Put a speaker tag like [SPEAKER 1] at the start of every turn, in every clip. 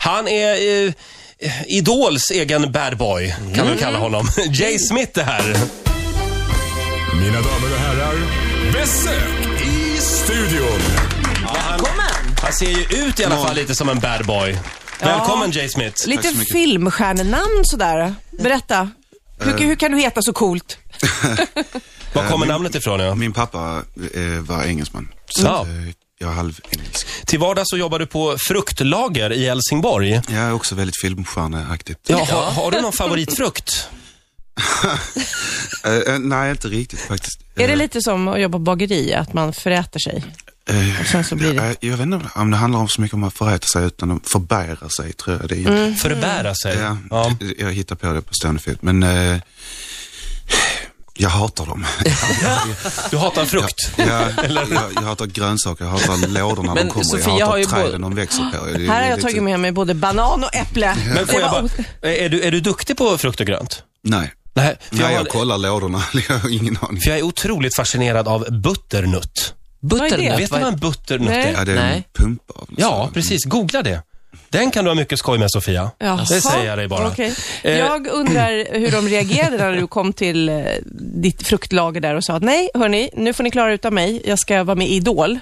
[SPEAKER 1] Han är eh, Idols egen bad boy, kan vi kalla honom. Jay Smith det här.
[SPEAKER 2] Mina damer och herrar, besök i studion.
[SPEAKER 3] Välkommen!
[SPEAKER 1] Han ser ju ut i alla fall lite som en bad boy. Välkommen Jay Smith.
[SPEAKER 3] Lite
[SPEAKER 4] så mycket.
[SPEAKER 3] filmstjärnenamn sådär. Berätta. Hur,
[SPEAKER 4] Eh.
[SPEAKER 3] hur kan du heta så coolt?
[SPEAKER 1] Var kommer
[SPEAKER 4] min-
[SPEAKER 1] namnet ifrån? Ja?
[SPEAKER 4] Min pappa eh, var engelsman. Så
[SPEAKER 1] Ja.
[SPEAKER 4] att, eh, jag är halvengelsk.
[SPEAKER 1] Till vardags så jobbar du på fruktlager i Helsingborg.
[SPEAKER 4] Jag är också väldigt filmstjärneaktigt.
[SPEAKER 1] Ja, har, har du någon favoritfrukt?
[SPEAKER 4] Eh, eh, nej, inte riktigt faktiskt.
[SPEAKER 3] Är det lite som att jobba på bageri, att man föräter sig?
[SPEAKER 4] Eh,
[SPEAKER 3] Och sen så blir det...
[SPEAKER 4] eh, jag vet inte om det, om det handlar om så mycket om att föräta sig utan att förbära sig tror jag det är.
[SPEAKER 1] Förbära sig.
[SPEAKER 4] Ja,
[SPEAKER 1] Mm. Ja.
[SPEAKER 4] d- Jag hittar på det på stående fot, men eh, jag hatar dem.
[SPEAKER 1] Du hatar frukt.
[SPEAKER 4] jag, jag, jag hatar grönsaker, jag hatar lådorna
[SPEAKER 5] Men
[SPEAKER 4] de kommer i,
[SPEAKER 5] Sofia
[SPEAKER 4] jag hatar
[SPEAKER 5] har ju
[SPEAKER 4] träden
[SPEAKER 5] både-
[SPEAKER 4] de växer på. Det är
[SPEAKER 3] Här har jag
[SPEAKER 4] lite-
[SPEAKER 3] tagit med mig både banan och äpple.
[SPEAKER 1] Men får
[SPEAKER 3] Det
[SPEAKER 1] jag bara,
[SPEAKER 3] var o-
[SPEAKER 1] är du, är du duktig på frukt och grönt?
[SPEAKER 4] Nej,
[SPEAKER 1] Nej, för jag,
[SPEAKER 4] Nej jag
[SPEAKER 1] har,
[SPEAKER 4] kollar lådorna, jag har ingen aning.
[SPEAKER 1] för jag är otroligt fascinerad av butternut.
[SPEAKER 3] är det?
[SPEAKER 5] Butternut.
[SPEAKER 1] Vet du vad en butternut
[SPEAKER 3] Nej.
[SPEAKER 1] är?
[SPEAKER 4] Ja, det är en
[SPEAKER 5] Nej.
[SPEAKER 4] pumpa av något
[SPEAKER 1] Ja,
[SPEAKER 4] slag.
[SPEAKER 1] precis. Googla det. Den kan du ha mycket skoj med, Sofia.
[SPEAKER 3] Jaha.
[SPEAKER 1] Det säger jag dig bara.
[SPEAKER 3] Okej.
[SPEAKER 1] Eh,
[SPEAKER 3] Jag undrar hur de reagerade när du kom till eh, ditt fruktlager där och sa att nej, hörni, nu får ni klara utan mig. Jag ska vara med i Idol.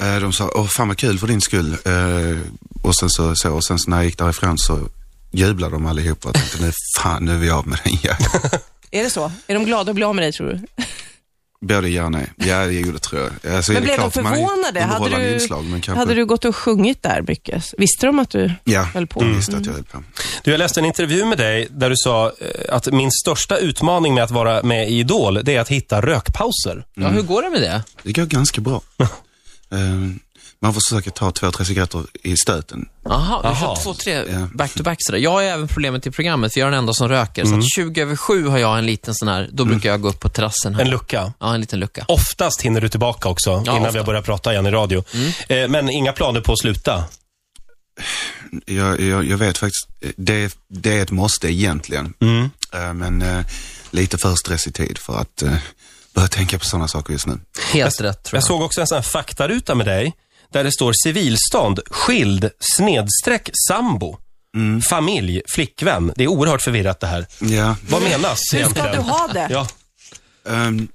[SPEAKER 4] Eh, De sa, åh fan vad kul för din skull. Eh, och sen så, så, och sen så när jag gick därifrån så jublade de allihopa och tänkte, nu fan nu är vi av med den jäveln.
[SPEAKER 3] Är det så? Är de glada att bli av med dig, tror du?
[SPEAKER 4] Både ja och nej. Ja, jo det tror jag. Alltså,
[SPEAKER 3] Men
[SPEAKER 4] det är
[SPEAKER 3] blev de
[SPEAKER 4] klart man har
[SPEAKER 3] förvånade? Hade
[SPEAKER 4] underhållande
[SPEAKER 3] du,
[SPEAKER 4] inslag, men kanske,
[SPEAKER 3] hade du gått och sjungit där mycket? Visste de att du
[SPEAKER 4] Ja,
[SPEAKER 3] höll på? Mm.
[SPEAKER 4] de visste att jag höll på.
[SPEAKER 1] Du, jag läste en intervju med dig där du sa eh, att min största utmaning med att vara med i Idol, det är att hitta rökpauser.
[SPEAKER 5] Ja, hur går det med det?
[SPEAKER 4] Det går ganska bra. Eh, man försöker ta två, tre cigaretter i stöten.
[SPEAKER 5] Jaha, du
[SPEAKER 1] Jaha.
[SPEAKER 5] kör två, tre
[SPEAKER 4] Ja.
[SPEAKER 5] back-to-back sådär. Jag har ju även problemet i programmet, för jag är den enda som röker. Så att 20 över 7 har jag en liten sån här, då brukar jag gå upp på terrassen här.
[SPEAKER 1] En lucka.
[SPEAKER 5] Ja, en liten lucka.
[SPEAKER 1] Oftast hinner du tillbaka också, innan
[SPEAKER 5] ofta.
[SPEAKER 1] vi börjar prata igen i radio.
[SPEAKER 3] Mm.
[SPEAKER 1] Eh, men inga planer på att sluta.
[SPEAKER 4] Jag, jag, jag vet faktiskt, eh, det, det är ett måste egentligen. Eh, men eh, lite för stressig tid för att eh, börja tänka på sådana saker just nu.
[SPEAKER 5] Helt rätt tror
[SPEAKER 1] Jag
[SPEAKER 5] jag.
[SPEAKER 1] såg också en sån här faktaruta med dig, där det står civilstånd, skild, snedstreck, sambo,
[SPEAKER 3] Mm.
[SPEAKER 1] familj, flickvän. Det är oerhört förvirrat det här.
[SPEAKER 4] Ja,
[SPEAKER 1] Vad menas
[SPEAKER 3] Hur ska
[SPEAKER 1] egentligen?
[SPEAKER 3] du ha det?
[SPEAKER 1] Ja,
[SPEAKER 4] Ehm,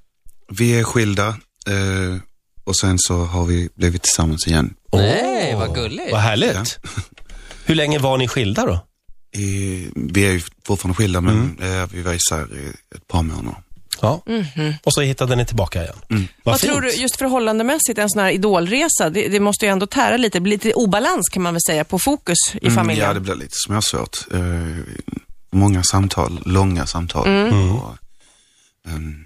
[SPEAKER 4] vi är skilda eh, och sen så har vi blivit tillsammans igen
[SPEAKER 5] Nej, vad
[SPEAKER 1] Åh,
[SPEAKER 5] gulligt.
[SPEAKER 1] Vad härligt. Hur länge var ni skilda då?
[SPEAKER 4] i, vi är ju fortfarande skilda men eh, vi var isär i ett par månader.
[SPEAKER 1] Ja. Mm-hmm. Och så hittade ni tillbaka igen. Vad,
[SPEAKER 3] Vad
[SPEAKER 1] fint.
[SPEAKER 3] tror du, just förhållandemässigt, en sån här idolresa, det, det måste ju ändå tära lite. Det blir lite obalans kan man väl säga på fokus i familjen.
[SPEAKER 4] Mm, Ja, det blir lite småsvårt. Eh, många samtal, långa samtal. Och, ehm,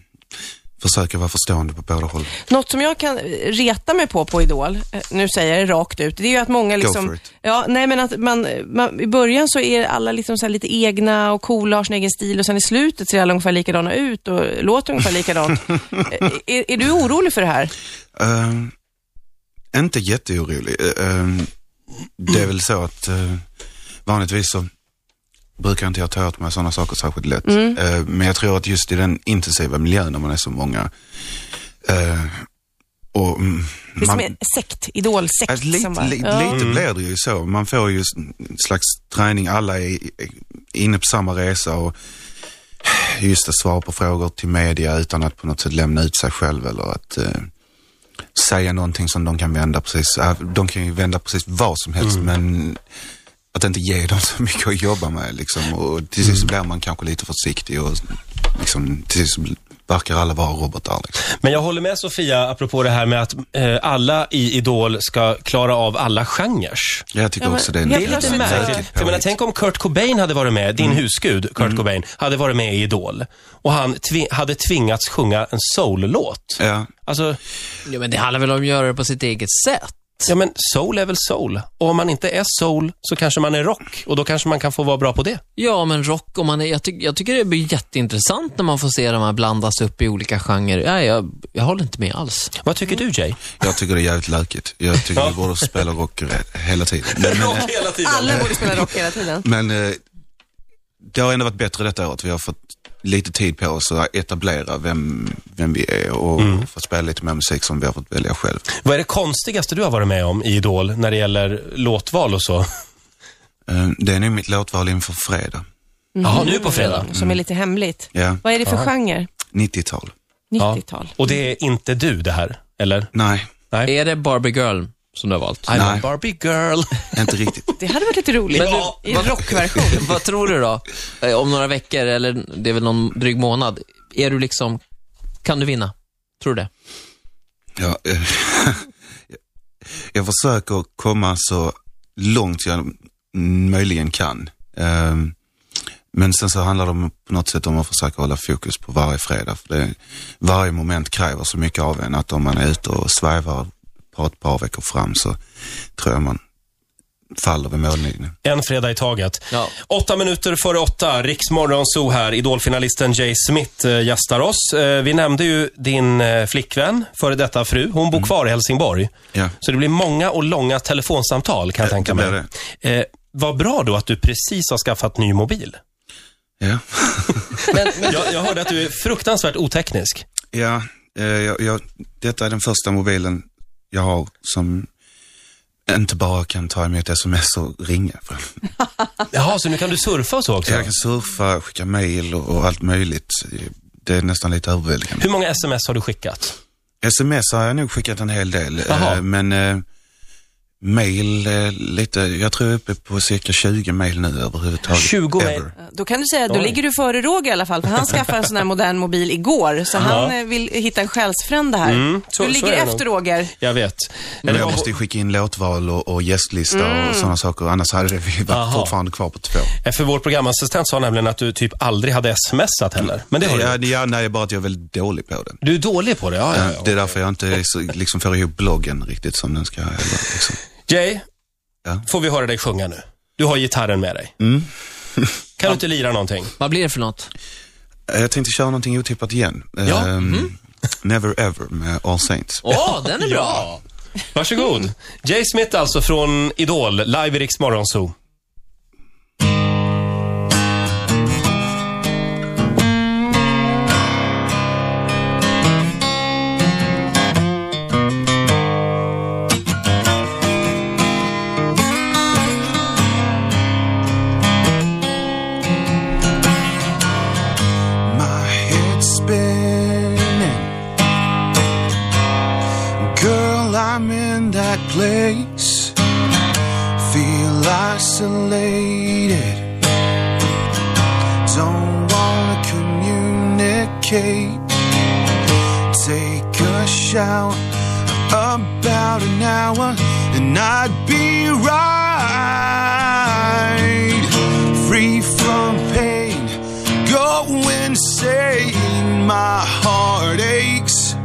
[SPEAKER 4] försöka vara förstående på båda håll.
[SPEAKER 3] Något som jag kan eh, reta mig på på Idol, eh, nu säger jag det rakt ut, det är ju att många
[SPEAKER 4] for
[SPEAKER 3] liksom...
[SPEAKER 4] it.
[SPEAKER 3] Ja, nej men att man, man, i början så är alla liksom så här lite egna och coola, har sin egen stil och sen i slutet ser alla ungefär likadana ut och låter ungefär likadant. Eh, är, är du orolig för det här?
[SPEAKER 4] Ehm, inte jätteorolig. Eh, ehm, det är väl så att eh, vanligtvis så brukar inte jag ta åt mig sådana saker särskilt lätt. Eh, men jag tror att just i den intensiva miljön när man är så många eh, och mm,
[SPEAKER 3] Det är
[SPEAKER 4] man-
[SPEAKER 3] som en sekt, idolsekt.
[SPEAKER 4] Alltså, lite
[SPEAKER 3] som bara,
[SPEAKER 4] li,
[SPEAKER 3] ja.
[SPEAKER 4] lite blir det ju så. Man får ju en slags träning. Alla är inne på samma resa och just att svara på frågor till media utan att på något sätt lämna ut sig själv eller att eh, säga någonting som de kan vända precis. Äh, De kan ju vända precis vad som helst men att inte ge dem så mycket att jobba med liksom. Och till sist blir man kanske lite försiktig och liksom, till sist verkar alla vara robotar. Liksom.
[SPEAKER 1] Men jag håller med Sofia, apropå det här med att eh, alla i Idol ska klara av alla genrer.
[SPEAKER 4] Jag tycker
[SPEAKER 3] Ja, men
[SPEAKER 4] också det är
[SPEAKER 3] helt
[SPEAKER 4] en-
[SPEAKER 3] plötsligt
[SPEAKER 1] Det är
[SPEAKER 4] en- en-
[SPEAKER 1] märkligt. Jag menar, tänk om Kurt Cobain hade varit med, din husgud Kurt Cobain, hade varit med i Idol. Och han tvi- hade tvingats sjunga en soul-låt.
[SPEAKER 4] Ja.
[SPEAKER 1] Alltså,
[SPEAKER 5] Ja, men det handlar väl om att göra det på sitt eget sätt.
[SPEAKER 1] ja men soul är väl soul. Och om man inte är soul så kanske man är rock. Och då kanske man kan få vara bra på det.
[SPEAKER 5] Ja, men rock och man är, jag, tyck, jag tycker det blir jätteintressant när man får se de här blandas upp i olika genrer. Nej, jag, jag håller inte med alls.
[SPEAKER 1] Vad tycker du Jay?
[SPEAKER 4] Jag tycker det är jävligt lökigt. Jag tycker vi borde spela rock hela tiden. Men, men, eh,
[SPEAKER 1] hela tiden.
[SPEAKER 3] Alla borde spela rock hela tiden.
[SPEAKER 4] men eh, det har ändå varit bättre detta året. Vi har fått lite tid på oss att etablera vem, vem vi är och få spela lite mer musik som vi har fått välja själv.
[SPEAKER 1] Vad är det konstigaste du har varit med om i Idol när det gäller låtval och så?
[SPEAKER 4] Eh, Det är nog mitt låtval inför fredag.
[SPEAKER 1] Ja, nu på fredag.
[SPEAKER 3] Som är lite hemligt.
[SPEAKER 4] Ja,
[SPEAKER 3] Vad är det för genre?
[SPEAKER 4] 90-tal.
[SPEAKER 3] 90-tal.
[SPEAKER 1] Och det är inte du det här, eller?
[SPEAKER 4] Nej,
[SPEAKER 5] Är det Barbie Girl som du har valt?
[SPEAKER 1] I'm a
[SPEAKER 4] Nej.
[SPEAKER 1] Barbie girl.
[SPEAKER 4] inte riktigt.
[SPEAKER 3] Det hade varit lite roligt.
[SPEAKER 5] Men
[SPEAKER 3] I en rockversion.
[SPEAKER 5] Vad tror du då? Eh, Om några veckor, eller det är väl någon dryg månad. Är du liksom, kan du vinna? Tror du det?
[SPEAKER 4] Ja, eh, jag försöker komma så långt jag möjligen kan. Ehm, Men sen så handlar det om, på något sätt om att försöka hålla fokus på varje fredag. För det, varje moment kräver så mycket av en att om man är ute och svävar på ett par veckor fram så tror jag man faller vid mållinjen.
[SPEAKER 1] En fredag i taget.
[SPEAKER 5] Ja.
[SPEAKER 1] Åtta minuter före åtta, Riksmorgon Zoo här. Idolfinalisten Jay Smith eh, gästar oss. Eh, vi nämnde ju din eh, flickvän, före detta fru. Hon bor
[SPEAKER 4] Mm.
[SPEAKER 1] kvar i Helsingborg.
[SPEAKER 4] Ja.
[SPEAKER 1] Så det blir många och långa telefonsamtal kan jag
[SPEAKER 4] Det-
[SPEAKER 1] tänka
[SPEAKER 4] det
[SPEAKER 1] mig. Eh, vad bra då att du precis har skaffat ny mobil.
[SPEAKER 4] Ja.
[SPEAKER 1] Jag, jag hörde att du är fruktansvärt oteknisk.
[SPEAKER 4] Ja, eh, jag, jag, detta är den första mobilen jag har som inte bara kan ta emot sms och ringa. Från.
[SPEAKER 1] Jaha, så nu kan du surfa och så också?
[SPEAKER 4] Jag kan surfa, skicka mail och, och allt möjligt. Det är nästan lite överväldigande.
[SPEAKER 1] Hur många sms har du skickat?
[SPEAKER 4] Sms har jag nog skickat en hel del, eh,
[SPEAKER 1] Jaha.
[SPEAKER 4] men eh, mail eh, lite. Jag tror jag är uppe på cirka 20 mail nu överhuvudtaget.
[SPEAKER 1] 20 mail.
[SPEAKER 4] Ever.
[SPEAKER 3] Då kan du säga att då
[SPEAKER 1] Oj.
[SPEAKER 3] ligger du före Roger i alla fall, för han skaffade en sån här modern mobil igår, så han eh, vill hitta en själsfrände här.
[SPEAKER 1] Mm, så-
[SPEAKER 3] du
[SPEAKER 1] så
[SPEAKER 3] ligger
[SPEAKER 1] är det nog.
[SPEAKER 3] efter Roger.
[SPEAKER 1] Jag vet.
[SPEAKER 4] Men
[SPEAKER 1] Eller
[SPEAKER 4] jag
[SPEAKER 1] vad-
[SPEAKER 4] måste ju skicka in låtval och, och gästlista och sådana saker, annars hade vi varit
[SPEAKER 1] Mm. Jaha.
[SPEAKER 4] fortfarande kvar på två.
[SPEAKER 1] eh, För vår programassistent sa nämligen att du typ aldrig hade smsat heller. Men det har
[SPEAKER 4] Ja,
[SPEAKER 1] du.
[SPEAKER 4] ja, nej, bara att jag är väldigt dålig på det.
[SPEAKER 1] Du är dålig på det, ja, ja,
[SPEAKER 4] Det
[SPEAKER 1] ja.
[SPEAKER 4] är därför jag inte är så, liksom får ihop bloggen riktigt som den ska. Eller, liksom.
[SPEAKER 1] Jay,
[SPEAKER 4] Ja. Mm.
[SPEAKER 1] får vi höra dig sjunga nu? Du har gitarren med dig. kan du inte lira någonting?
[SPEAKER 5] Vad blir det för något?
[SPEAKER 4] Eh, Jag tänkte köra någonting otippat igen.
[SPEAKER 1] Ja, mhm.
[SPEAKER 4] Ehm, Never Ever med All Saints.
[SPEAKER 5] Åh, den är bra!
[SPEAKER 1] Varsågod. Jay Smith alltså från Idol, live i Rix Morgon Zoo. Oh.
[SPEAKER 4] My head's spinning. Girl, I'm in that place. Feel isolated. Don't wanna communicate. Take a shower. About an hour, and I'd be right. Free from pain, go insane. My heart aches.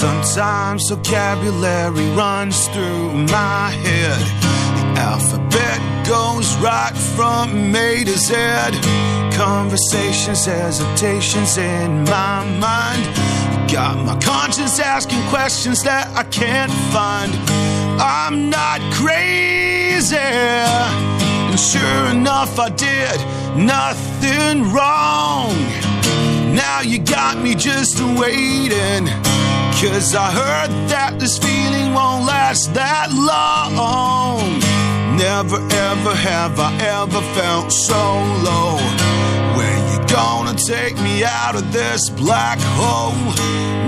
[SPEAKER 4] Sometimes vocabulary runs through my head. The alphabet goes right from A to Z. Conversations, hesitations in my mind. Got my conscience asking questions that I can't find. I'm not crazy. And sure enough, I did nothing wrong. Now you got me just waiting. Cause I heard that this feeling won't last that long. Never ever have I ever felt so low. When you gonna take me out of this black hole?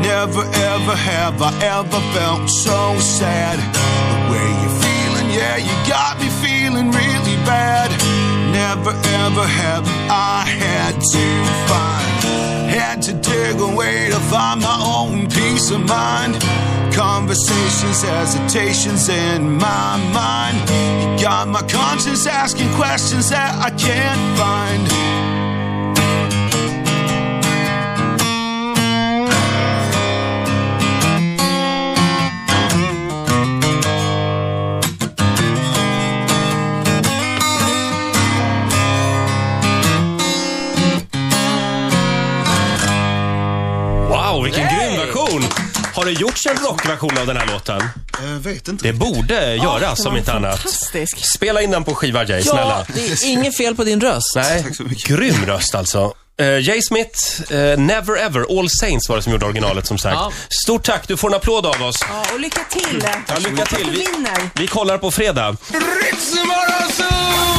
[SPEAKER 4] Never ever have I ever felt so sad. The way you feeling, yeah, you got me feeling really bad. Never ever have I had to find, had to dig away to find my own peace of mind. Conversations, hesitations in my mind. You got my conscience asking questions that I can't find.
[SPEAKER 1] Wow, vilken grym version! Har det gjorts en rockversion av den här låten?
[SPEAKER 4] Jag vet inte.
[SPEAKER 1] Det borde göras
[SPEAKER 3] Det var
[SPEAKER 1] om inte annat.
[SPEAKER 3] Fantastisk.
[SPEAKER 1] Spela in den på skiva, Jay, snälla.
[SPEAKER 5] Ja, det är inget fel på din röst.
[SPEAKER 1] Nej,
[SPEAKER 4] Tack så mycket.
[SPEAKER 1] grym röst alltså. Eh, Jay Smith, eh, Never Ever, All Saints var det som gjorde originalet som sagt.
[SPEAKER 5] Ja.
[SPEAKER 1] Stort tack, du får en applåd av oss.
[SPEAKER 3] Ja, och lycka till.
[SPEAKER 1] Ja, lycka
[SPEAKER 3] Hoppas
[SPEAKER 1] till.
[SPEAKER 3] du
[SPEAKER 1] Vi,
[SPEAKER 3] vinner.
[SPEAKER 1] vi kollar på fredag.
[SPEAKER 2] Ritzmorgonzoo!